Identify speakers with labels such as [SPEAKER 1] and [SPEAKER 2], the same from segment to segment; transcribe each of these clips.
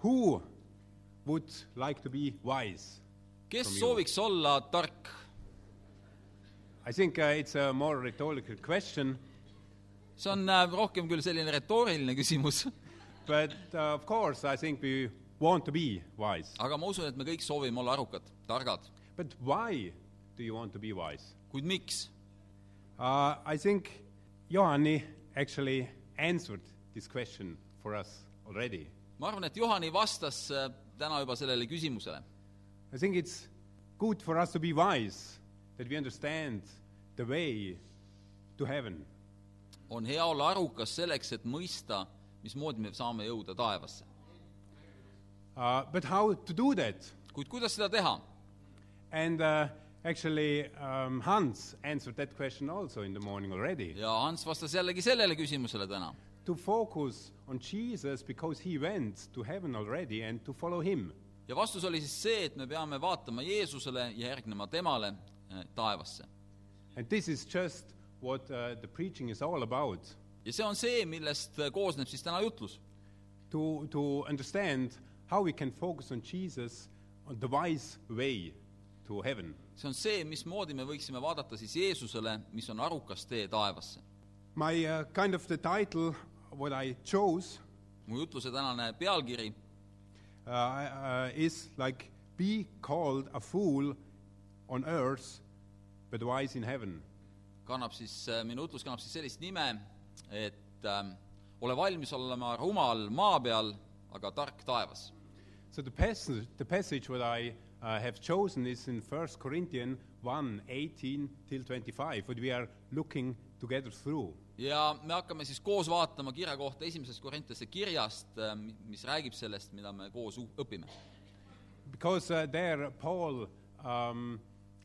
[SPEAKER 1] Who would like to be wise?
[SPEAKER 2] kes
[SPEAKER 1] From you.
[SPEAKER 2] sooviks olla tark ?
[SPEAKER 1] I think uh, it's a more rhetorical question,
[SPEAKER 2] see on äh, rohkem küll selline retooriline küsimus ,
[SPEAKER 1] but uh, of course, I think we want to be wise.
[SPEAKER 2] aga ma usun , et me kõik soovime olla arukad , targad .
[SPEAKER 1] But why do you want to be wise?
[SPEAKER 2] kuid miks ?
[SPEAKER 1] Uh, I think Johanni actually answered this question for us already.
[SPEAKER 2] ma arvan , et Johani vastas äh, täna juba sellele küsimusele .
[SPEAKER 1] I think it's good for us to be wise, that we understand the way to heaven.
[SPEAKER 2] on hea olla arukas selleks , et mõista , mismoodi me saame jõuda taevasse .
[SPEAKER 1] Uh, but how to do that?
[SPEAKER 2] kuid kuidas seda teha ?
[SPEAKER 1] And uh, actually, um, Hans answered that question also in the morning already.
[SPEAKER 2] ja Hans vastas jällegi sellele küsimusele täna .
[SPEAKER 1] To focus on Jesus because he went to heaven already and to follow him.
[SPEAKER 2] ja vastus oli siis see , et me peame vaatama Jeesusele ja järgnema temale eh, taevasse .
[SPEAKER 1] And this is just what uh, the preaching is all about.
[SPEAKER 2] ja see on see , millest eh, koosneb siis täna jutlus .
[SPEAKER 1] to, to understand how we can focus on Jesus on the wise way to heaven.
[SPEAKER 2] see on see , mismoodi me võiksime vaadata siis Jeesusele , mis on arukas tee taevasse .
[SPEAKER 1] My uh, kind of the title, what I chose,
[SPEAKER 2] mu jutluse tänane pealkiri
[SPEAKER 1] uh, uh, is like be called a fool on earth, but wise in heaven.
[SPEAKER 2] kannab siis , minu jutlus kannab siis sellist nime , et ähm, ole valmis olema rumal maa peal , aga tark taevas .
[SPEAKER 1] So the passage, the passage what I uh, have chosen is in 1 Corinthians 1, 18 till 25, what we are looking together through.
[SPEAKER 2] ja me hakkame siis koos vaatama kirja kohta esimesest Korintuse kirjast , mis räägib sellest , mida me koos u- õpime .
[SPEAKER 1] Because uh, there, Paul um,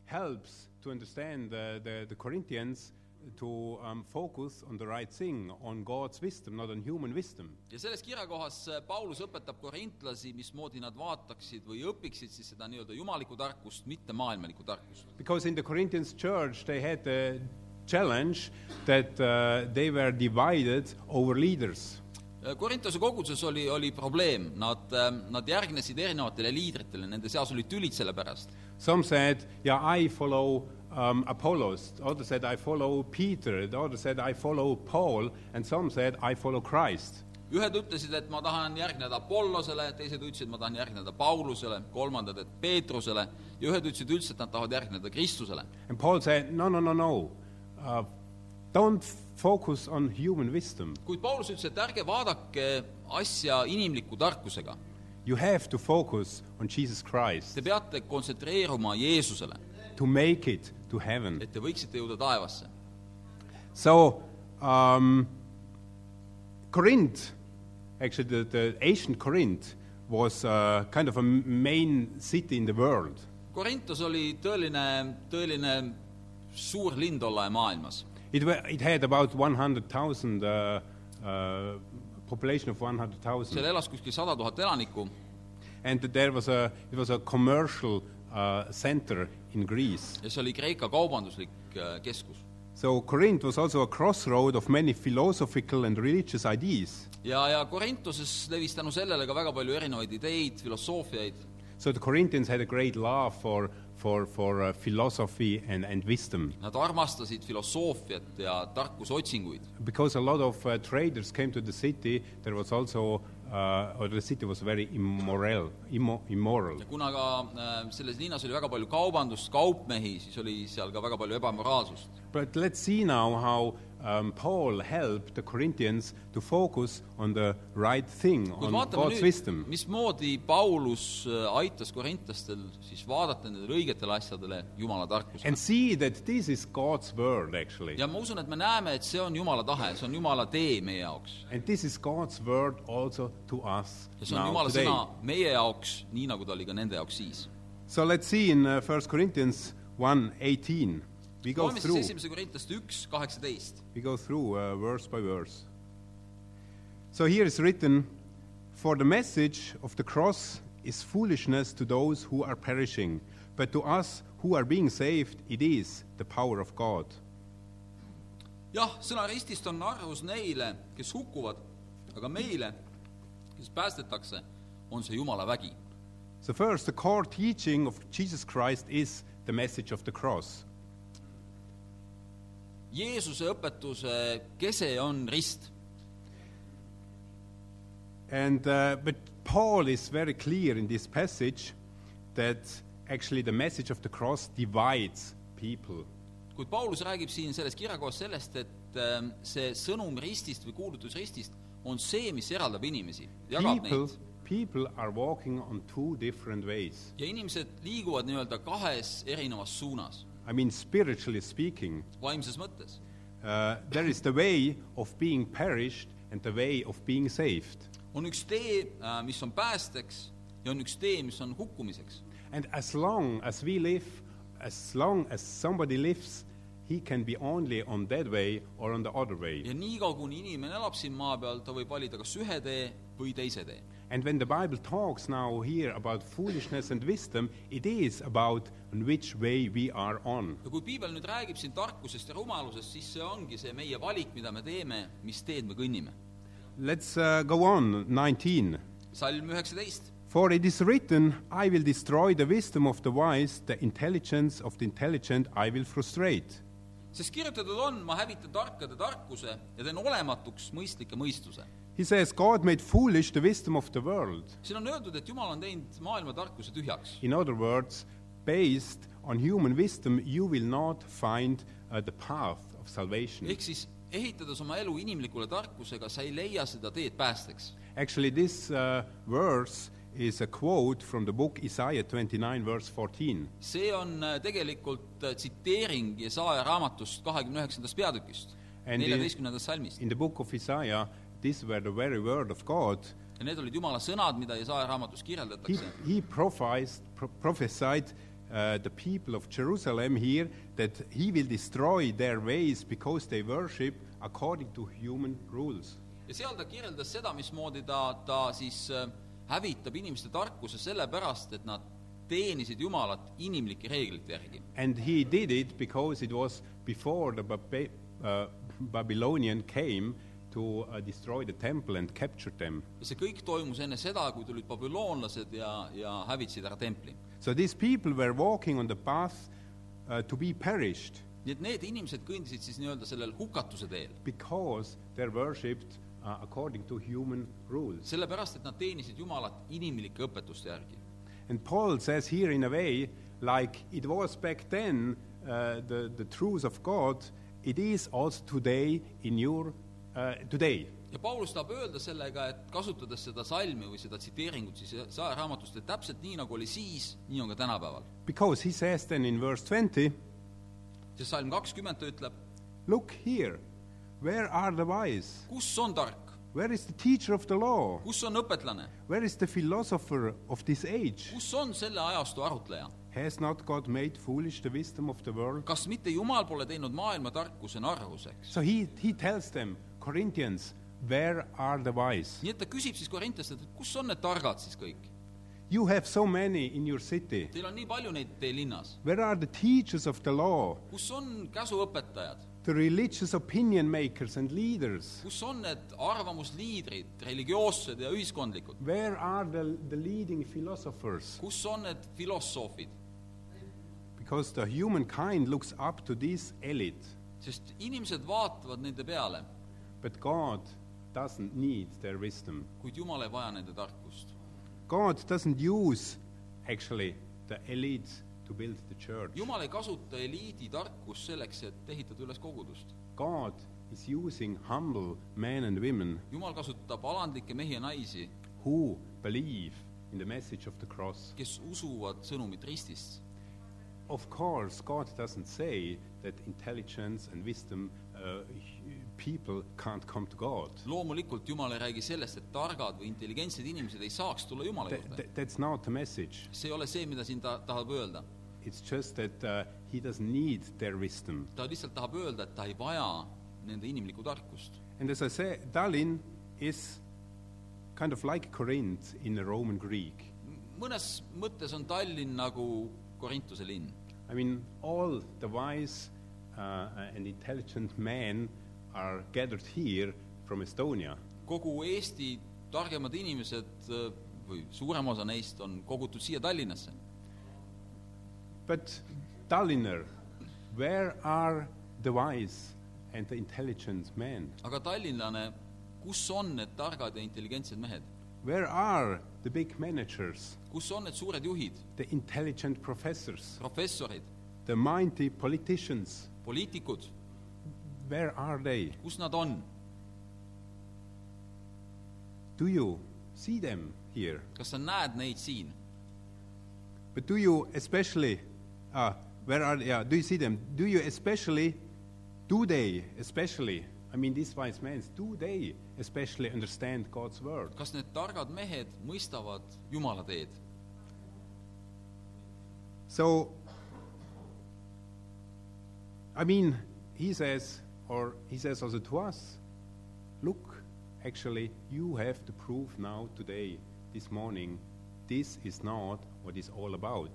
[SPEAKER 1] helps to understand uh, the, the Corinthians to um, focus on the right thing, on God's wisdom, not on human wisdom.
[SPEAKER 2] ja selles kirjakohas äh, Paulus õpetab korintlasi , mismoodi nad vaataksid või õpiksid siis seda nii-öelda jumalikku tarkust , mitte maailmalikku tarkust .
[SPEAKER 1] Because in the Corinthians church, they had the challenge that uh, they were divided over leaders.
[SPEAKER 2] Äh, Korintuse koguduses oli , oli probleem , nad , nad järgnesid erinevatele liidritele , nende seas olid tülid selle pärast .
[SPEAKER 1] Some said, Yeah, I follow um, Apollos. Others said, I follow Peter. The others said, I follow Paul. And some said, I follow Christ.
[SPEAKER 2] ühed ütlesid , et ma tahan järgneda Apollosele , teised ütlesid , ma tahan järgneda Paulusele , kolmandad , et Peetrusele ja ühed ütlesid üldse , et nad tahavad järgneda Kristusele .
[SPEAKER 1] And Paul said, No, no, no, no. Uh, don't f- focus on human wisdom.
[SPEAKER 2] kuid Paulus ütles , et ärge vaadake asja inimliku tarkusega .
[SPEAKER 1] You have to focus on Jesus Christ
[SPEAKER 2] Te peate kontsentreeruma Jeesusele ,
[SPEAKER 1] to make it to heaven.
[SPEAKER 2] et te võiksite jõuda taevasse .
[SPEAKER 1] So, um, Corinth, actually, the, the ancient Corinth was uh, kind of a m- main city in the world.
[SPEAKER 2] Korintus oli tõeline , tõeline suur linn tol ajal maailmas .
[SPEAKER 1] It, wa it had about 100,000 uh, uh, population of 100,000.
[SPEAKER 2] seal elas kuskil sada tuhat elanikku
[SPEAKER 1] and there was a, it was a commercial uh, center in Greece.
[SPEAKER 2] ja see oli Kreeka kaubanduslik äh, keskus .
[SPEAKER 1] So Corinth was also a crossroad of many philosophical and religious ideas.
[SPEAKER 2] ja , ja Korintuses levis tänu sellele ka väga palju erinevaid ideid , filosoofiaid
[SPEAKER 1] So the Corinthians had a great love for, for, for uh, philosophy and, and wisdom
[SPEAKER 2] Nad armastasid filosoofiat ja tarkusotsinguid ,
[SPEAKER 1] because a lot of uh, traders came to the city. There was also, uh, or the city was very immoral. Immo- immoral.
[SPEAKER 2] ja kuna ka äh, selles linnas oli väga palju kaubandust , kaupmehi , siis oli seal ka väga palju ebamoraalsust .
[SPEAKER 1] But let's see now how um, Paul helped the Corinthians to focus on the right thing,
[SPEAKER 2] kuid
[SPEAKER 1] on
[SPEAKER 2] vaatame
[SPEAKER 1] God's
[SPEAKER 2] nüüd
[SPEAKER 1] wisdom. ,
[SPEAKER 2] mismoodi Paulus äh, aitas korintlastel siis vaadata nendele õigetele asjadele Jumala tarkusega
[SPEAKER 1] And . see that this is God's word, actually.
[SPEAKER 2] ja ma usun , et me näeme , et see on Jumala tahe , see on Jumala tee meie jaoks .
[SPEAKER 1] And this is God's word also to us
[SPEAKER 2] ja see on
[SPEAKER 1] now
[SPEAKER 2] Jumala
[SPEAKER 1] today.
[SPEAKER 2] sõna meie jaoks , nii nagu ta oli ka nende jaoks siis .
[SPEAKER 1] So let's see in uh, 1 Corinthians 1:18. We go
[SPEAKER 2] loeme siis
[SPEAKER 1] through
[SPEAKER 2] esimese korintlaste üks , kaheksateist
[SPEAKER 1] we go through uh, verse by verse. So here is written, "For the message of the cross is foolishness to those who are perishing, but to us who are being saved it is the power of God."
[SPEAKER 2] jah , sõna ristist on arvus neile , kes hukkuvad , aga meile , kes päästetakse , on see Jumala vägi
[SPEAKER 1] So, first, the core teaching of Jesus Christ is the message of the cross.
[SPEAKER 2] Jeesuse õpetuse kese on rist
[SPEAKER 1] And, uh, but Paul is very clear in this passage that actually the message of the cross divides people.
[SPEAKER 2] kuid Paulus räägib siin selles kirjakohas sellest , et ähm, see sõnum ristist või kuulutus ristist on see , mis eraldab inimesi , jagab
[SPEAKER 1] People,
[SPEAKER 2] neid .
[SPEAKER 1] people are walking on two different ways.
[SPEAKER 2] ja inimesed liiguvad nii-öelda kahes erinevas suunas ,
[SPEAKER 1] I mean, spiritually speaking,
[SPEAKER 2] vaimses mõttes .
[SPEAKER 1] uh, there is the way of being perished and the way of being saved.
[SPEAKER 2] on üks tee , mis on päästeks ja on üks tee , mis on hukkumiseks .
[SPEAKER 1] And as long as we live, as long as somebody lives, he can be only on that way or on the other way.
[SPEAKER 2] ja niikaua , kuni inimene elab siin maa peal , ta võib valida kas ühe tee või teise tee .
[SPEAKER 1] And when the Bible talks now here about foolishness and wisdom, it is about on which way we are on.
[SPEAKER 2] ja kui piibel nüüd räägib siin tarkusest ja rumalusest , siis see ongi see meie valik , mida me teeme , mis teed me kõnnime .
[SPEAKER 1] Let's uh, go on, 19.
[SPEAKER 2] salm üheksateist
[SPEAKER 1] For it is written, I will destroy the wisdom of the wise, the intelligence of the intelligent I will frustrate.
[SPEAKER 2] sest kirjutatud on , ma hävitan tarkade tarkuse ja teen olematuks mõistlike mõistuse .
[SPEAKER 1] He says, God made foolish the wisdom of the world.
[SPEAKER 2] siin on öeldud , et Jumal on teinud maailma tarkuse tühjaks .
[SPEAKER 1] In other words, based on human wisdom, you will not find uh, the path of salvation.
[SPEAKER 2] ehk siis ehitades oma elu inimlikule tarkusega , sa ei leia seda teed päästeks .
[SPEAKER 1] Actually, this uh, verse is a quote from the book Isaiah 29, verse 14.
[SPEAKER 2] see on äh, tegelikult äh, tsiteering Jesaja raamatust kahekümne üheksandast peatükist ,
[SPEAKER 1] And in,
[SPEAKER 2] neljateistkümnendast salmist .
[SPEAKER 1] in the book of Isaiah, these were the very word of God.
[SPEAKER 2] ja need olid Jumala sõnad , mida Jesaja raamatus
[SPEAKER 1] He,
[SPEAKER 2] kirjeldatakse .
[SPEAKER 1] he prophesied, pro- prophesied uh, the people of Jerusalem here that he will destroy their ways because they worship according to human rules.
[SPEAKER 2] ja seal ta kirjeldas seda , mismoodi ta , ta siis äh, hävitab inimeste tarkuse sellepärast , et nad teenisid Jumalat inimlike reeglite järgi
[SPEAKER 1] And he did it because it was before the Bab- uh, Babylonian came to uh, destroy the temple and capture them.
[SPEAKER 2] ja see kõik toimus enne seda , kui tulid babüloonlased ja , ja hävitasid ära templi .
[SPEAKER 1] So these people were walking on the path uh, to be perished
[SPEAKER 2] nii et need inimesed kõndisid siis nii-öelda sellel hukatuse teel ,
[SPEAKER 1] because they worshipped uh, according to human rules.
[SPEAKER 2] sellepärast et nad teenisid Jumalat inimlike õpetuste järgi .
[SPEAKER 1] And Paul says here, in a way, like it was back then, uh, the, the truth of God, it is also today in your, uh, today.
[SPEAKER 2] ja Paulus tahab öelda sellega , et kasutades seda salmi või seda tsiteeringut siis saeraamatust , et täpselt nii , nagu oli siis , nii on ka tänapäeval .
[SPEAKER 1] Because he says then in verse 20,
[SPEAKER 2] sest salm kakskümmend ta ütleb ,
[SPEAKER 1] Look here. Where are the wise?
[SPEAKER 2] kus on tark ,
[SPEAKER 1] Where is the teacher of the law?
[SPEAKER 2] kus on õpetlane ,
[SPEAKER 1] Where is the philosopher of this age?
[SPEAKER 2] kus on selle ajastu arutleja ?
[SPEAKER 1] Has not God made foolish the wisdom of the world?
[SPEAKER 2] kas mitte Jumal pole teinud maailma tarkuse narruseks ?
[SPEAKER 1] So he, he tells them, Corinthians, where are the wise?
[SPEAKER 2] nii et ta küsib siis korintlastelt , et kus on need targad siis kõik ?
[SPEAKER 1] You have so many in your city.
[SPEAKER 2] Teil on nii palju neid teie linnas ,
[SPEAKER 1] Where are the teachers of the law,
[SPEAKER 2] kus on käsuõpetajad ,
[SPEAKER 1] the religious opinion makers and leaders?
[SPEAKER 2] kus on need arvamusliidrid , religioossed ja ühiskondlikud ,
[SPEAKER 1] Where are the, the leading philosophers?
[SPEAKER 2] kus on need filosoofid ,
[SPEAKER 1] Because the humankind looks up to this elite,
[SPEAKER 2] sest inimesed vaatavad nende peale ,
[SPEAKER 1] but God doesn't need their wisdom.
[SPEAKER 2] kuid Jumal ei vaja nende tarkust .
[SPEAKER 1] God doesn't use actually the elite to build the church.
[SPEAKER 2] Jumal ei kasuta eliidi tarkust selleks , et ehitada üles kogudust .
[SPEAKER 1] God is using humble men and women
[SPEAKER 2] Jumal kasutab alandlikke mehi ja naisi ,
[SPEAKER 1] who believe in the message of the cross.
[SPEAKER 2] kes usuvad sõnumit ristist .
[SPEAKER 1] Of course, God doesn't say that intelligence and wisdom uh, hu- people can't come to God.
[SPEAKER 2] loomulikult Jumal ei räägi sellest , et targad või intelligentsed inimesed ei saaks tulla Jumala
[SPEAKER 1] Th-
[SPEAKER 2] juurde
[SPEAKER 1] th- that's not the message.
[SPEAKER 2] see ei ole see , mida siin ta tahab öelda .
[SPEAKER 1] It's just that uh, He doesn't need their wisdom.
[SPEAKER 2] ta lihtsalt tahab öelda , et ta ei vaja nende inimlikku tarkust .
[SPEAKER 1] And as I say, Dalin is kind of like Corinth in the Roman Greek.
[SPEAKER 2] mõnes mõttes on Tallinn nagu Korintuse linn .
[SPEAKER 1] I mean, all the wise uh, and intelligent men are gathered here from Estonia.
[SPEAKER 2] kogu Eesti targemad inimesed öö, või suurem osa neist on kogutud siia Tallinnasse .
[SPEAKER 1] But Talliner, where are the wise and the intelligent men?
[SPEAKER 2] aga tallinlane , kus on need targad ja intelligentsed mehed ?
[SPEAKER 1] Where are the big managers,
[SPEAKER 2] kus on need suured juhid ,
[SPEAKER 1] the intelligent professors,
[SPEAKER 2] professorid ,
[SPEAKER 1] the mighty politicians?
[SPEAKER 2] poliitikud ,
[SPEAKER 1] Where are they?
[SPEAKER 2] kus nad on ?
[SPEAKER 1] Do you see them here?
[SPEAKER 2] kas sa näed neid siin ?
[SPEAKER 1] But do you especially, uh, where are, yeah, do you see them? Do you especially, do they especially, I mean, these wise men, do they especially understand God's word?
[SPEAKER 2] kas need targad mehed mõistavad Jumala teed ?
[SPEAKER 1] So, I mean, he says, or he says also to us, look, actually, you have to prove now, today, this morning, this is not what it's all about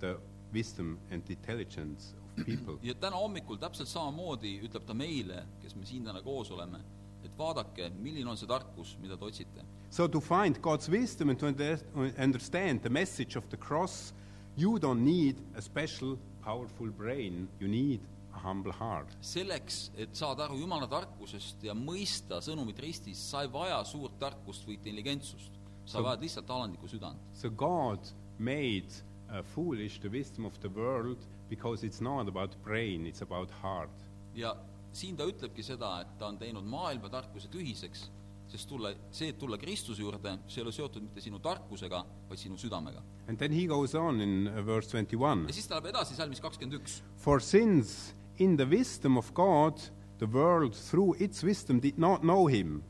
[SPEAKER 1] the wisdom and intelligence of people.
[SPEAKER 2] ja täna hommikul täpselt samamoodi ütleb ta meile , kes me siin täna koos oleme , et vaadake , milline on see tarkus , mida te otsite .
[SPEAKER 1] so, to find God's wisdom and to under- understand the message of the cross, you don't need a special, powerful brain, you need a humble heart.
[SPEAKER 2] selleks , et saada aru Jumala tarkusest ja mõista sõnumit ristis , sa ei vaja suurt tarkust või intelligentsust . sa
[SPEAKER 1] So-
[SPEAKER 2] vajad lihtsalt alandlikku südant .
[SPEAKER 1] So God made uh, foolish the wisdom of the world because it's not about brain, it's about heart.
[SPEAKER 2] ja siin ta ütlebki seda , et ta on teinud maailma tarkuse tühiseks , sest tulla , see , et tulla Kristuse juurde , see ei ole seotud mitte sinu tarkusega , vaid sinu südamega .
[SPEAKER 1] And then he goes on in uh, verse 21
[SPEAKER 2] ja siis ta läheb edasi salmis kakskümmend üks
[SPEAKER 1] For since in the wisdom of God the world through its wisdom did not know him,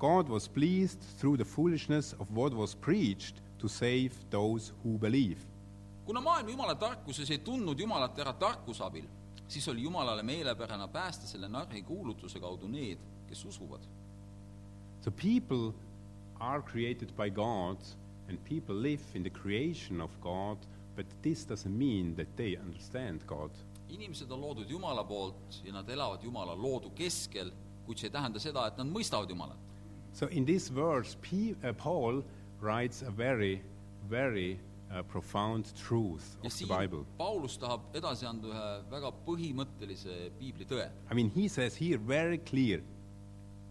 [SPEAKER 1] God was pleased through the foolishness of what was preached to save those who believe.
[SPEAKER 2] kuna maailm Jumala tarkuses ei tundnud Jumalat ära tarkuse abil , siis oli Jumalale meelepärane päästa selle narri kuulutuse kaudu need , kes usuvad .
[SPEAKER 1] So people are created by God and people live in the creation of God, but this doesn't mean that they understand God.
[SPEAKER 2] inimesed on loodud Jumala poolt ja nad elavad Jumala loodu keskel , kuid see ei tähenda seda , et nad mõistavad Jumalat .
[SPEAKER 1] So in this verse, P- uh, Paul writes a very, very uh, profound truth
[SPEAKER 2] ja
[SPEAKER 1] of the
[SPEAKER 2] siin
[SPEAKER 1] Bible.
[SPEAKER 2] Paulus tahab edasi anda ühe väga põhimõttelise piiblitõe .
[SPEAKER 1] I mean, he says here very clear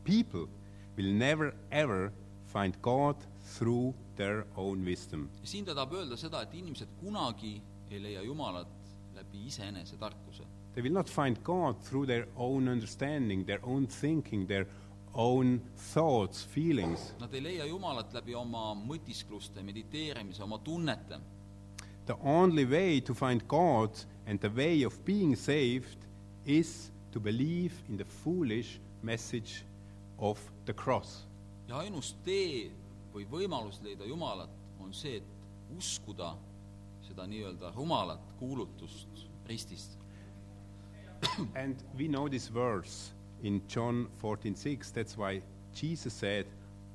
[SPEAKER 1] people will never ever find God through their own wisdom.
[SPEAKER 2] ja siin ta tahab öelda seda , et inimesed kunagi ei leia Jumalat läbi iseenese tarkuse .
[SPEAKER 1] They will not find God through their own understanding, their own thinking, their own thoughts, feelings.
[SPEAKER 2] Nad ei leia Jumalat läbi oma mõtiskluste , mediteerimise , oma tunnete
[SPEAKER 1] The only way to find God and the way of being saved is to believe in the foolish message of the cross.
[SPEAKER 2] ja ainus tee või võimalus leida Jumalat on see , et uskuda seda nii-öelda rumalat kuulutust ristist .
[SPEAKER 1] And we know this verse in John 14:6. That's why Jesus said,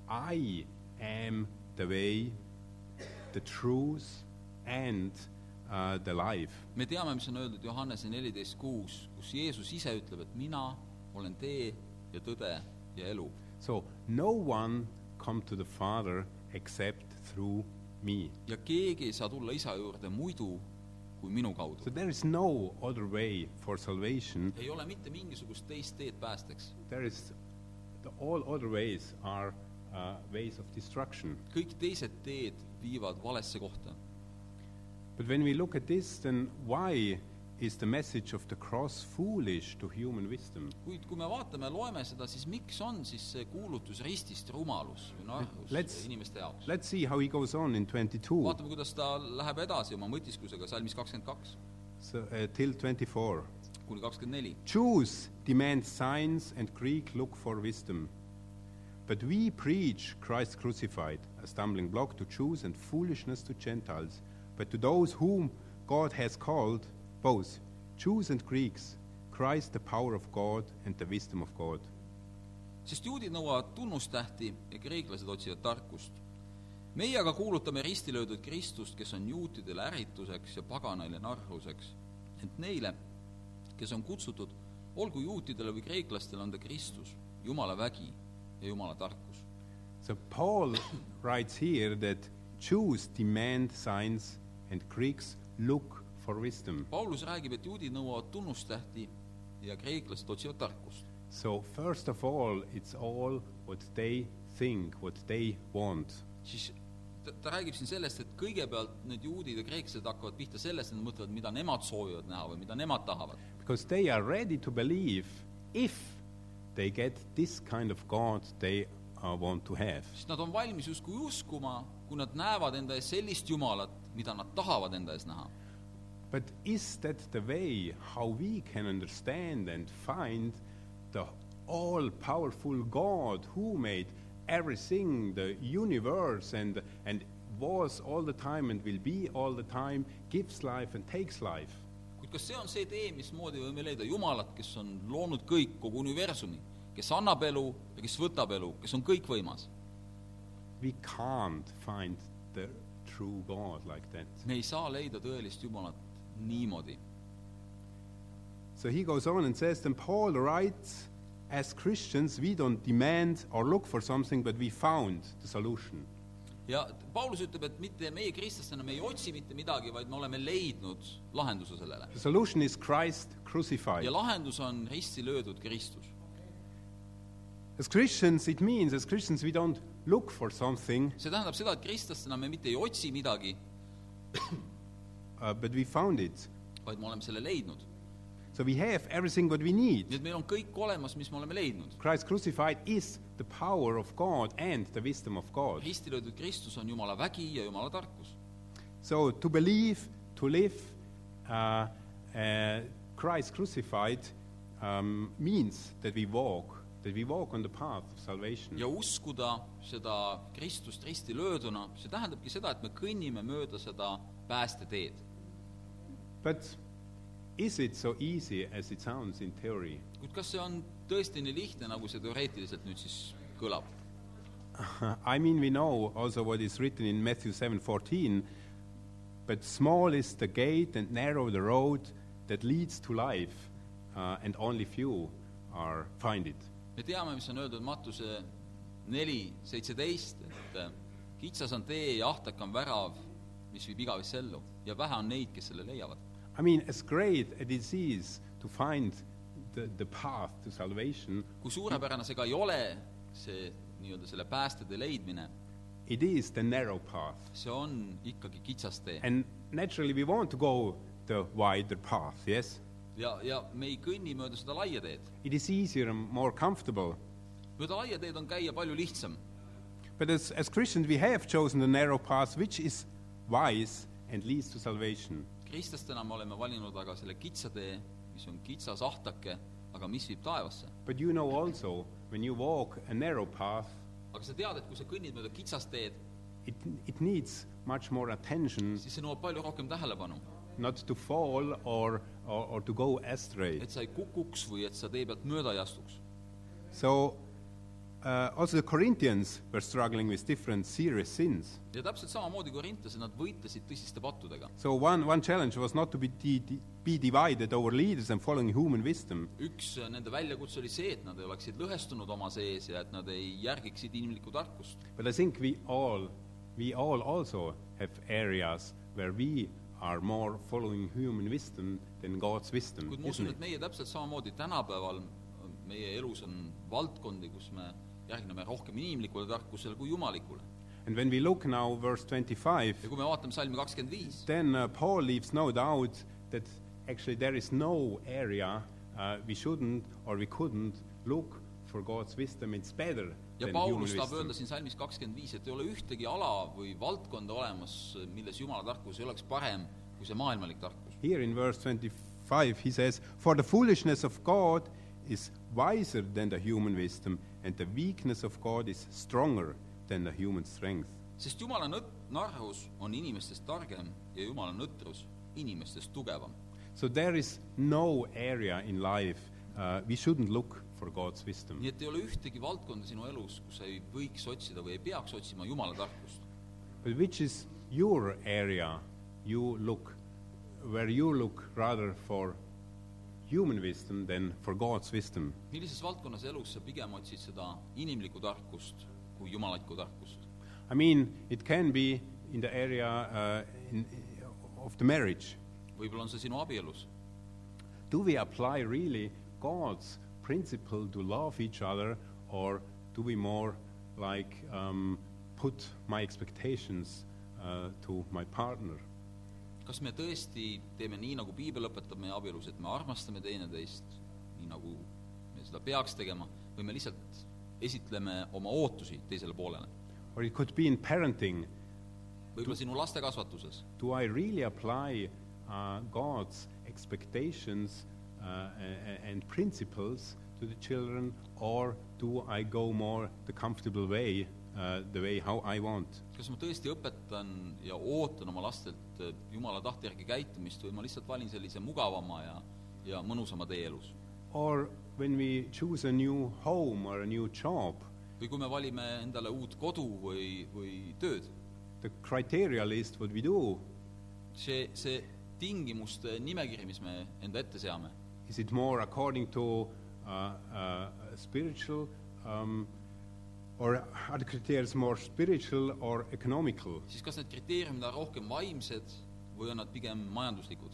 [SPEAKER 1] "I am the way, the truth, and uh, the life."
[SPEAKER 2] me teame , mis on öeldud Johannese neliteist kuus , kus Jeesus ise ütleb , et mina olen tee ja tõde ja elu .
[SPEAKER 1] So no one come to the Father except through me.
[SPEAKER 2] ja keegi ei saa tulla isa juurde muidu kui minu
[SPEAKER 1] So
[SPEAKER 2] kaudu .
[SPEAKER 1] there is no other way for salvation.
[SPEAKER 2] ei ole mitte mingisugust teist teed päästeks .
[SPEAKER 1] There is the, all other ways are uh, ways of destruction.
[SPEAKER 2] kõik teised teed viivad valesse kohta
[SPEAKER 1] But when we look at this, then why is the message of the cross foolish to human wisdom?
[SPEAKER 2] kuid kui me vaatame , loeme seda , siis miks on siis see kuulutus ristist rumalus või narrus
[SPEAKER 1] Let's-
[SPEAKER 2] inimeste jaoks ?
[SPEAKER 1] Let's see how he goes on in 22
[SPEAKER 2] vaatame , kuidas ta läheb edasi oma mõtisklusega salmis kakskümmend kaks
[SPEAKER 1] so, uh, till 24.
[SPEAKER 2] kuni kakskümmend neli .
[SPEAKER 1] Jews demand signs and Greek look for wisdom. But we preach Christ crucified, a stumbling block to Jews and foolishness to Gentiles. But to those whom God has called, both Jews and Greeks, Christ the power of God and the wisdom of God.
[SPEAKER 2] sest juudid nõuavad tunnustähti ja kreeklased otsivad tarkust . meie aga kuulutame risti löödud Kristust , kes on juutidele ärrituseks ja paganaile narruseks . ent neile , kes on kutsutud , olgu juutidele või kreeklastele , on ta Kristus , Jumala vägi ja Jumala tarkus .
[SPEAKER 1] So Paul writes here that Jews demand signs and Greeks look for wisdom.
[SPEAKER 2] Paulus räägib , et juudid nõuavad tunnustähti ja kreeklased otsivad tarkust .
[SPEAKER 1] So first of all, it's all what they think, what they want.
[SPEAKER 2] siis ta, ta räägib siin sellest , et kõigepealt need juudid ja kreeklased hakkavad pihta sellest , et nad mõtlevad , mida nemad soovivad näha või mida nemad tahavad .
[SPEAKER 1] Because they are ready to believe if they get this kind of God they uh, want to have.
[SPEAKER 2] sest nad on valmis justkui uskuma , kui nad näevad enda ees sellist Jumalat , mida nad tahavad enda ees näha .
[SPEAKER 1] But is that the way how we can understand and find the all powerful God who made everything, the universe, and, and was all the time and will be all the time, gives life and takes life?
[SPEAKER 2] kuid kas see on see tee , mismoodi võime leida Jumalat , kes on loonud kõik , kogu universumi , kes annab elu ja kes võtab elu , kes on kõikvõimas ?
[SPEAKER 1] We can't find the true God like that.
[SPEAKER 2] me ei saa leida tõelist Jumalat niimoodi .
[SPEAKER 1] So he goes on and says, then Paul writes, as Christians, we don't demand or look for something, but we found the solution.
[SPEAKER 2] ja Paulus ütleb , et mitte meie kristlastena , me ei otsi mitte midagi , vaid me oleme leidnud lahenduse sellele .
[SPEAKER 1] The solution is Christ crucified.
[SPEAKER 2] ja lahendus on risti löödud Kristus .
[SPEAKER 1] As Christians, it means as Christians we don't look for something,
[SPEAKER 2] see tähendab seda , et kristlastena me mitte ei otsi midagi ,
[SPEAKER 1] uh, but we found it.
[SPEAKER 2] vaid me oleme selle leidnud .
[SPEAKER 1] So we have everything what we need.
[SPEAKER 2] nii et meil on kõik olemas , mis me oleme leidnud .
[SPEAKER 1] Christ crucified is the power of God and the wisdom of God.
[SPEAKER 2] risti löödud Kristus on Jumala vägi ja Jumala tarkus .
[SPEAKER 1] So to believe, to live, uh, uh, Christ crucified um, means that we walk, that we walk on the path of salvation.
[SPEAKER 2] ja uskuda seda Kristust risti lööduna , see tähendabki seda , et me kõnnime mööda seda päästeteed .
[SPEAKER 1] But is it so easy as it sounds in theory?
[SPEAKER 2] kuid kas see on tõesti nii lihtne , nagu see teoreetiliselt nüüd siis kõlab ?
[SPEAKER 1] I mean, we know also what is written in Matthew 7:14, but small is the gate and narrow the road that leads to life, uh, and only few are find it.
[SPEAKER 2] me teame , mis on öeldud Matuse neli seitseteist , et äh, kitsas on tee ja ahtak on värav , mis viib igavesse ellu ja vähe on neid , kes selle leiavad .
[SPEAKER 1] I mean, as great a disease to find the, the path to salvation,
[SPEAKER 2] kui suurepärane see ka ei ole , see nii-öelda selle päästede leidmine ,
[SPEAKER 1] it is the narrow path.
[SPEAKER 2] see on ikkagi kitsas tee .
[SPEAKER 1] And naturally, we want to go the wider path, yes?
[SPEAKER 2] ja , ja me ei kõnni mööda seda laia teed .
[SPEAKER 1] It is easier and more comfortable.
[SPEAKER 2] mööda laia teed on käia palju lihtsam .
[SPEAKER 1] But as, as Christians, we have chosen the narrow path, which is wise and leads to salvation.
[SPEAKER 2] kristlastena me oleme valinud aga selle kitsa tee , mis on kitsas ahtake , aga mis viib taevasse .
[SPEAKER 1] But you know also, when you walk a narrow path,
[SPEAKER 2] aga sa tead , et kui sa kõnnid mööda kitsast teed ,
[SPEAKER 1] it, it needs much more attention
[SPEAKER 2] siis see nõuab palju rohkem tähelepanu
[SPEAKER 1] not to fall or, or, or to go astray.
[SPEAKER 2] et sa ei kukuks või et sa tee pealt mööda ei astuks .
[SPEAKER 1] So, uh, also the Corinthians were struggling with different serious sins.
[SPEAKER 2] ja täpselt samamoodi korintlased , nad võitlesid tõsiste pattudega .
[SPEAKER 1] So, one, one challenge was not to be, di- di- be divided over leaders and following human wisdom.
[SPEAKER 2] üks äh, nende väljakutse oli see , et nad ei oleksid lõhestunud oma sees ja et nad ei järgiksid inimlikku tarkust .
[SPEAKER 1] But I think we all, we all also have areas where we are more following human wisdom than God's wisdom,
[SPEAKER 2] kuid ma
[SPEAKER 1] isn't
[SPEAKER 2] usun ,
[SPEAKER 1] it?
[SPEAKER 2] et meie täpselt samamoodi tänapäeval , meie elus on valdkondi , kus me järgneme rohkem inimlikule tarkusele kui jumalikule .
[SPEAKER 1] And when we look now, verse 25,
[SPEAKER 2] ja kui me vaatame salmi kakskümmend viis ,
[SPEAKER 1] then uh, Paul leaves no doubt that actually there is no area uh, we shouldn't or we couldn't look for God's wisdom. It's better
[SPEAKER 2] ja
[SPEAKER 1] than human
[SPEAKER 2] Paulus tahab öelda
[SPEAKER 1] wisdom.
[SPEAKER 2] siin salmis kakskümmend viis , et ei ole ühtegi ala või valdkonda olemas , milles jumala tarkus ei oleks parem kui see maailmalik tarkus .
[SPEAKER 1] Here in verse 25, he says, For the foolishness of God is wiser than the human wisdom, and the weakness of God is stronger than the human strength.
[SPEAKER 2] sest jumala nõt- , narrus on inimestest targem ja jumala nõtrus inimestest tugevam .
[SPEAKER 1] So there is no area in life uh, we shouldn't look for God's wisdom.
[SPEAKER 2] nii et ei ole ühtegi valdkonda sinu elus , kus sa ei võiks otsida või ei peaks otsima jumala tarkust .
[SPEAKER 1] But which is your area you look, where you look rather for human wisdom than for God's wisdom?
[SPEAKER 2] millises valdkonnas elus sa pigem otsid seda inimlikku tarkust kui jumalikku tarkust .
[SPEAKER 1] I mean, it can be in the area uh, in, of the marriage.
[SPEAKER 2] võib-olla on see sinu abielus .
[SPEAKER 1] Do we apply really God's principle to love each other, or do we more like um, put my expectations uh, to my partner?
[SPEAKER 2] kas me tõesti teeme nii , nagu piibel õpetab meie abielus , et me armastame teineteist nii , nagu me seda peaks tegema , või me lihtsalt esitleme oma ootusi teisele poolele ?
[SPEAKER 1] Or it could be in parenting.
[SPEAKER 2] võib-olla sinu laste kasvatuses ,
[SPEAKER 1] Do I really apply uh, God's expectations uh, a- a- and principles to the children, or do I go more the comfortable way, uh, the way how I want?
[SPEAKER 2] kas ma tõesti õpetan ja ootan oma lastelt eh, jumala tahte järgi käitumist või ma lihtsalt valin sellise mugavama ja , ja mõnusama tee elus ?
[SPEAKER 1] Or when we choose a new home or a new job,
[SPEAKER 2] või kui me valime endale uut kodu või , või tööd ,
[SPEAKER 1] the criteria list what we do
[SPEAKER 2] see , see tingimuste nimekiri , mis me enda ette seame ,
[SPEAKER 1] is it more according to uh, uh, spiritual um, or are the criteria more spiritual or economical
[SPEAKER 2] siis kas need kriteeriumid on rohkem vaimsed või on nad pigem majanduslikud ?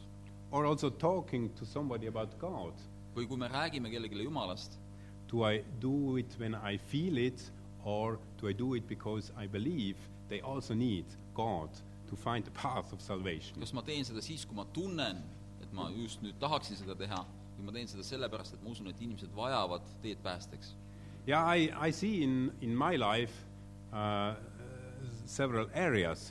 [SPEAKER 1] or also talking to somebody about god
[SPEAKER 2] või kui me räägime kellelegi Jumalast ,
[SPEAKER 1] do i do it when i feel it or do i do it because i believe they also need god to find the path of salvation
[SPEAKER 2] kas ma teen seda siis , kui ma tunnen , et ma just nüüd tahaksin seda teha , või ma teen seda sellepärast , et ma usun , et inimesed vajavad teed päästeks .
[SPEAKER 1] Yeah, I, I see in, in my life uh, uh, several areas.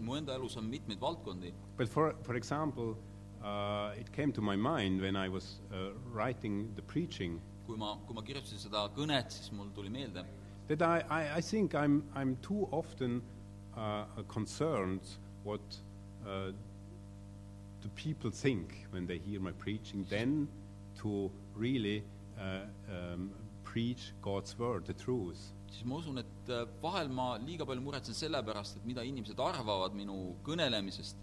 [SPEAKER 2] mu enda elus on mitmeid valdkondi ,
[SPEAKER 1] But for, for example, uh, it came to my mind when I was uh, writing the preaching
[SPEAKER 2] kui ma , kui ma kirjutasin seda kõnet , siis mul tuli meelde ,
[SPEAKER 1] that I, I, I think I'm, I'm too often uh, concerned what uh, the people think when they hear my preaching, then to really uh, um, preach God's word, the truth.
[SPEAKER 2] siis ma usun , et äh, vahel ma liiga palju muretsen selle pärast , et mida inimesed arvavad minu kõnelemisest ,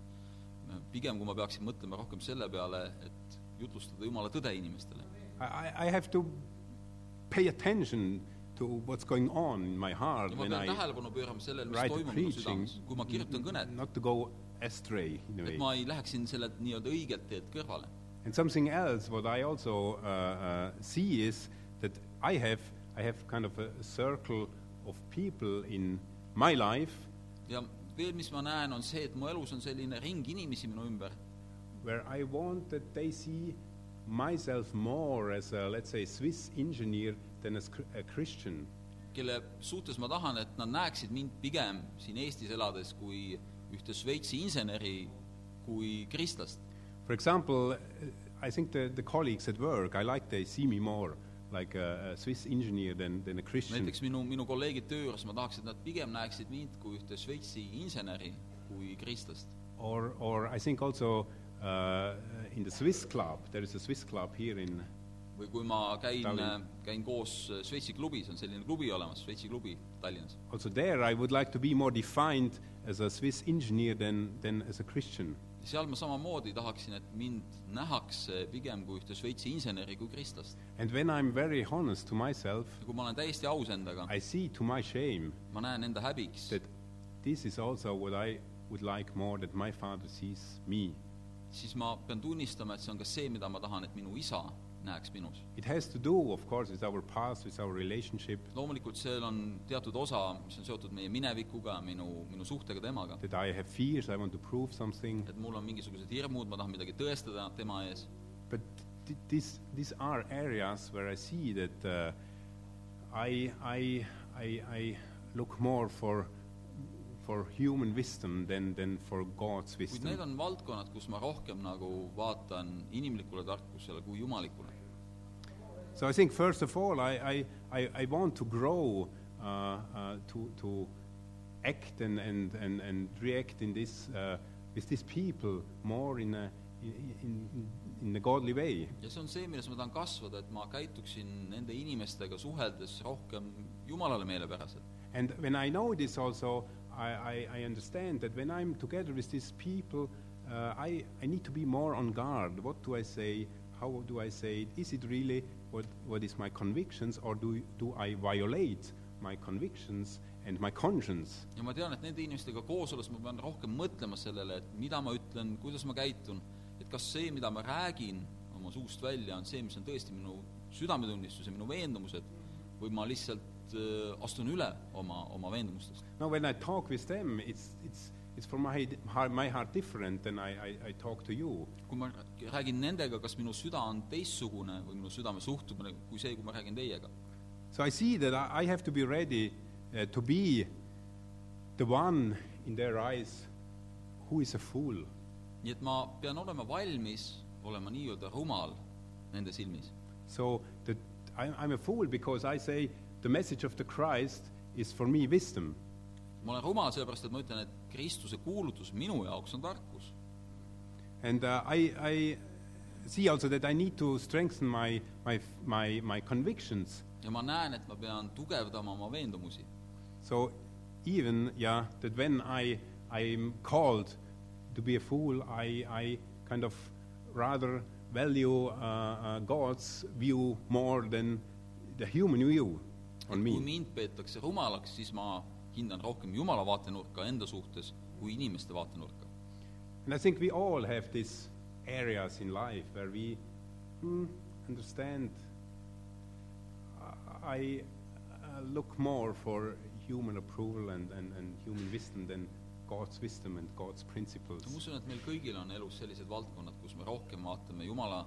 [SPEAKER 2] pigem kui ma peaksin mõtlema rohkem selle peale , et jutlustada Jumala tõde inimestele .
[SPEAKER 1] I- I, I have to pay attention to what's going on in my heart
[SPEAKER 2] ja ma
[SPEAKER 1] when
[SPEAKER 2] pean
[SPEAKER 1] I
[SPEAKER 2] tähelepanu pöörama sellele , mis
[SPEAKER 1] write the
[SPEAKER 2] toimub minu
[SPEAKER 1] preaching,
[SPEAKER 2] südames , kui ma kirjutan kõnet .
[SPEAKER 1] not to go astray in a
[SPEAKER 2] et
[SPEAKER 1] way.
[SPEAKER 2] ma ei läheksin sellelt nii-öelda õigelt teelt kõrvale .
[SPEAKER 1] And something else, what I also uh, uh, see is that I have, I have kind of a circle of people in my life
[SPEAKER 2] ja veel , mis ma näen , on see , et mu elus on selline ring inimesi minu ümber ,
[SPEAKER 1] where I want that they see myself more as a, let's say, Swiss engineer than as cr- a Christian.
[SPEAKER 2] kelle suhtes ma tahan , et nad näeksid mind pigem siin Eestis elades kui ühte Šveitsi inseneri kui kristlast .
[SPEAKER 1] For example, uh, I think the, the colleagues at work, I like they see me more like a, a Swiss engineer than, than a Christian.
[SPEAKER 2] näiteks minu , minu kolleegid töö juures , ma tahaks , et nad pigem näeksid mind kui ühte Šveitsi inseneri kui kristlast .
[SPEAKER 1] Or, or I think also uh, in the Swiss club, there is a Swiss club here in,
[SPEAKER 2] või kui ma käin äh,
[SPEAKER 1] Tallinn. ,
[SPEAKER 2] käin koos Šveitsi klubis , on selline klubi olemas , Šveitsi klubi Tallinnas
[SPEAKER 1] also there I would like to be more defined as a Swiss engineer than, than as a Christian.
[SPEAKER 2] seal ma samamoodi tahaksin , et mind nähakse pigem kui ühte Šveitsi inseneri kui kristlast .
[SPEAKER 1] And when I'm very honest to myself,
[SPEAKER 2] ja kui ma olen täiesti aus endaga ,
[SPEAKER 1] I see to my shame
[SPEAKER 2] ma näen enda häbiks ,
[SPEAKER 1] that this is also what I would like more that my father sees me.
[SPEAKER 2] siis ma pean tunnistama , et see on ka see , mida ma tahan , et minu isa näeks minus .
[SPEAKER 1] It has to do, of course, with our past, with our relationship,
[SPEAKER 2] loomulikult seal on teatud osa , mis on seotud meie minevikuga , minu , minu suhtega temaga .
[SPEAKER 1] that I have fears, I want to prove something.
[SPEAKER 2] et mul on mingisugused hirmud , ma tahan midagi tõestada tema ees ,
[SPEAKER 1] But th- these, these are areas where I see that uh, I, I, I, I look more for, for human wisdom than, than for God's
[SPEAKER 2] kuid need
[SPEAKER 1] wisdom.
[SPEAKER 2] on valdkonnad , kus ma rohkem nagu vaatan inimlikule tarkusele kui jumalikule .
[SPEAKER 1] So I think, first of all, I, I, I, I want to grow uh, uh, to, to act and, and, and, and react in this, uh, with these people more in a, in, in, in a godly way.
[SPEAKER 2] ja see on see , milles ma tahan kasvada , et ma käituksin nende inimestega suheldes rohkem Jumalale meelepäraselt .
[SPEAKER 1] And when I know this also, I, I, I understand that when I'm together with these people, uh, I, I need to be more on guard. What do I say? How do I say it? Is it really what, what is my convictions or do, do I violate my convictions and my conscience.
[SPEAKER 2] ja ma tean , et nende inimestega koos olles ma pean rohkem mõtlema sellele , et mida ma ütlen , kuidas ma käitun , et kas see , mida ma räägin oma suust välja , on see , mis on tõesti minu südametunnistus ja minu veendumused , või ma lihtsalt äh, astun üle oma , oma veendumustest .
[SPEAKER 1] Now, when I talk with them, it's, it's, it's from my, heart- my heart different than I, I, I talk to you.
[SPEAKER 2] kui ma räägin nendega , kas minu süda on teistsugune või minu südame suhtumine kui see , kui ma räägin teiega .
[SPEAKER 1] So I see that I I have to be ready uh, to be the one in their eyes who is a fool.
[SPEAKER 2] nii et ma pean olema valmis olema nii-öelda rumal nende silmis .
[SPEAKER 1] So the, I, I'm a fool because I say the message of the Christ is for me wisdom.
[SPEAKER 2] ma olen rumal sellepärast , et ma ütlen , et Kristuse kuulutus minu jaoks on tarkus
[SPEAKER 1] And uh, I, I see also that I need to strengthen my, my, my, my convictions.
[SPEAKER 2] ja ma näen , et ma pean tugevdama oma veendumusi .
[SPEAKER 1] So even, yeah, that when I, I'm called to be a fool, I, I kind of rather value uh, uh, God's view more than the human view
[SPEAKER 2] et
[SPEAKER 1] on
[SPEAKER 2] kui
[SPEAKER 1] me.
[SPEAKER 2] mind peetakse rumalaks , siis ma hindan rohkem Jumala vaatenurka enda suhtes kui inimeste vaatenurka .
[SPEAKER 1] And I think we all have these areas in life where we hmm, understand. I uh, look more for human approval and, and, and human wisdom than God's wisdom and God's principles.
[SPEAKER 2] ma usun , et meil kõigil on elus sellised valdkonnad , kus me rohkem vaatame Jumala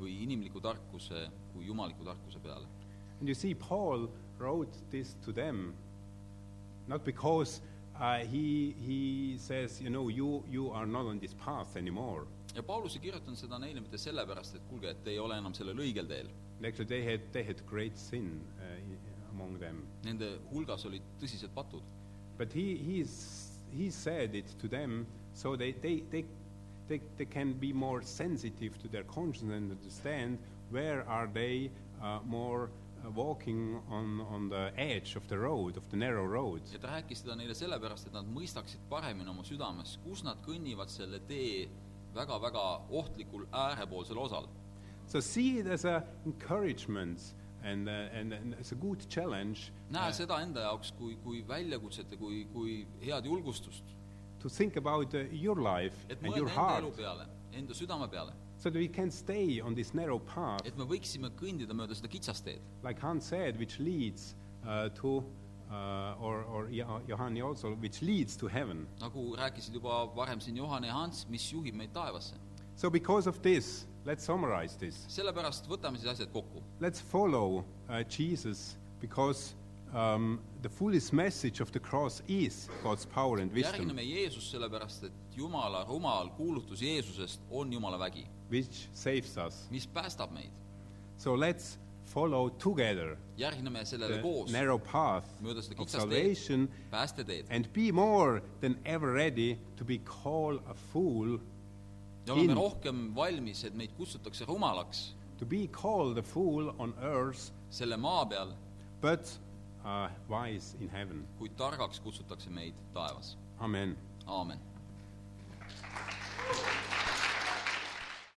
[SPEAKER 2] või inimliku tarkuse kui jumaliku tarkuse peale .
[SPEAKER 1] And you see, Paul wrote this to them, not because uh, he, he says, you know, you, you are not on this path anymore.
[SPEAKER 2] ja Paulus ei kirjutanud seda neile mitte sellepärast , et kuulge , et te ei ole enam sellel õigel teel .
[SPEAKER 1] And Actually, they had, they had great sin uh, i- among them.
[SPEAKER 2] Nende hulgas olid tõsised patud .
[SPEAKER 1] But he, he, s- he said it to them so they, they, they, they, they can be more sensitive to their conscience and understand where are they uh, more uh, walking on, on the edge of the road, of the narrow road.
[SPEAKER 2] ja ta rääkis seda neile sellepärast , et nad mõistaksid paremini oma südames , kus nad kõnnivad selle tee väga-väga ohtlikul äärepoolsel osal .
[SPEAKER 1] So see it as an encouragement and, uh, and, and as a good challenge uh,
[SPEAKER 2] näe seda enda jaoks kui , kui väljakutset ja kui , kui head julgustust ,
[SPEAKER 1] to think about uh, your life
[SPEAKER 2] et
[SPEAKER 1] and your
[SPEAKER 2] mõelda enda
[SPEAKER 1] heart
[SPEAKER 2] elu peale , enda südame peale ,
[SPEAKER 1] so that we can stay on this narrow path,
[SPEAKER 2] et me võiksime kõndida mööda seda kitsast teed .
[SPEAKER 1] like Hans said, which leads uh, to, uh, or, or Jo- Johanni also, which leads to heaven.
[SPEAKER 2] nagu rääkisid juba varem siin Johan ja Hans , mis juhib meid taevasse .
[SPEAKER 1] So because of this, let's summarize this.
[SPEAKER 2] sellepärast võtame siis asjad kokku .
[SPEAKER 1] Let's follow uh, Jesus because um, the fullest message of the cross is God's power and wisdom.
[SPEAKER 2] järgneme Jeesust sellepärast , et Jumala rumal kuulutus Jeesusest on Jumala vägi ,
[SPEAKER 1] which saves us.
[SPEAKER 2] mis päästab meid .
[SPEAKER 1] So let's follow together
[SPEAKER 2] järgneme sellele
[SPEAKER 1] the
[SPEAKER 2] koos
[SPEAKER 1] narrow path
[SPEAKER 2] mööda seda
[SPEAKER 1] of
[SPEAKER 2] kitsast teed
[SPEAKER 1] salvation ,
[SPEAKER 2] päästeteed
[SPEAKER 1] and be more than ever ready to be called a fool,
[SPEAKER 2] ja oleme
[SPEAKER 1] in-
[SPEAKER 2] rohkem valmis , et meid kutsutakse rumalaks
[SPEAKER 1] to be called a fool on earth,
[SPEAKER 2] selle maa peal ,
[SPEAKER 1] but uh, wise in heaven.
[SPEAKER 2] kuid targaks kutsutakse meid taevas .
[SPEAKER 1] Amen.
[SPEAKER 2] aamen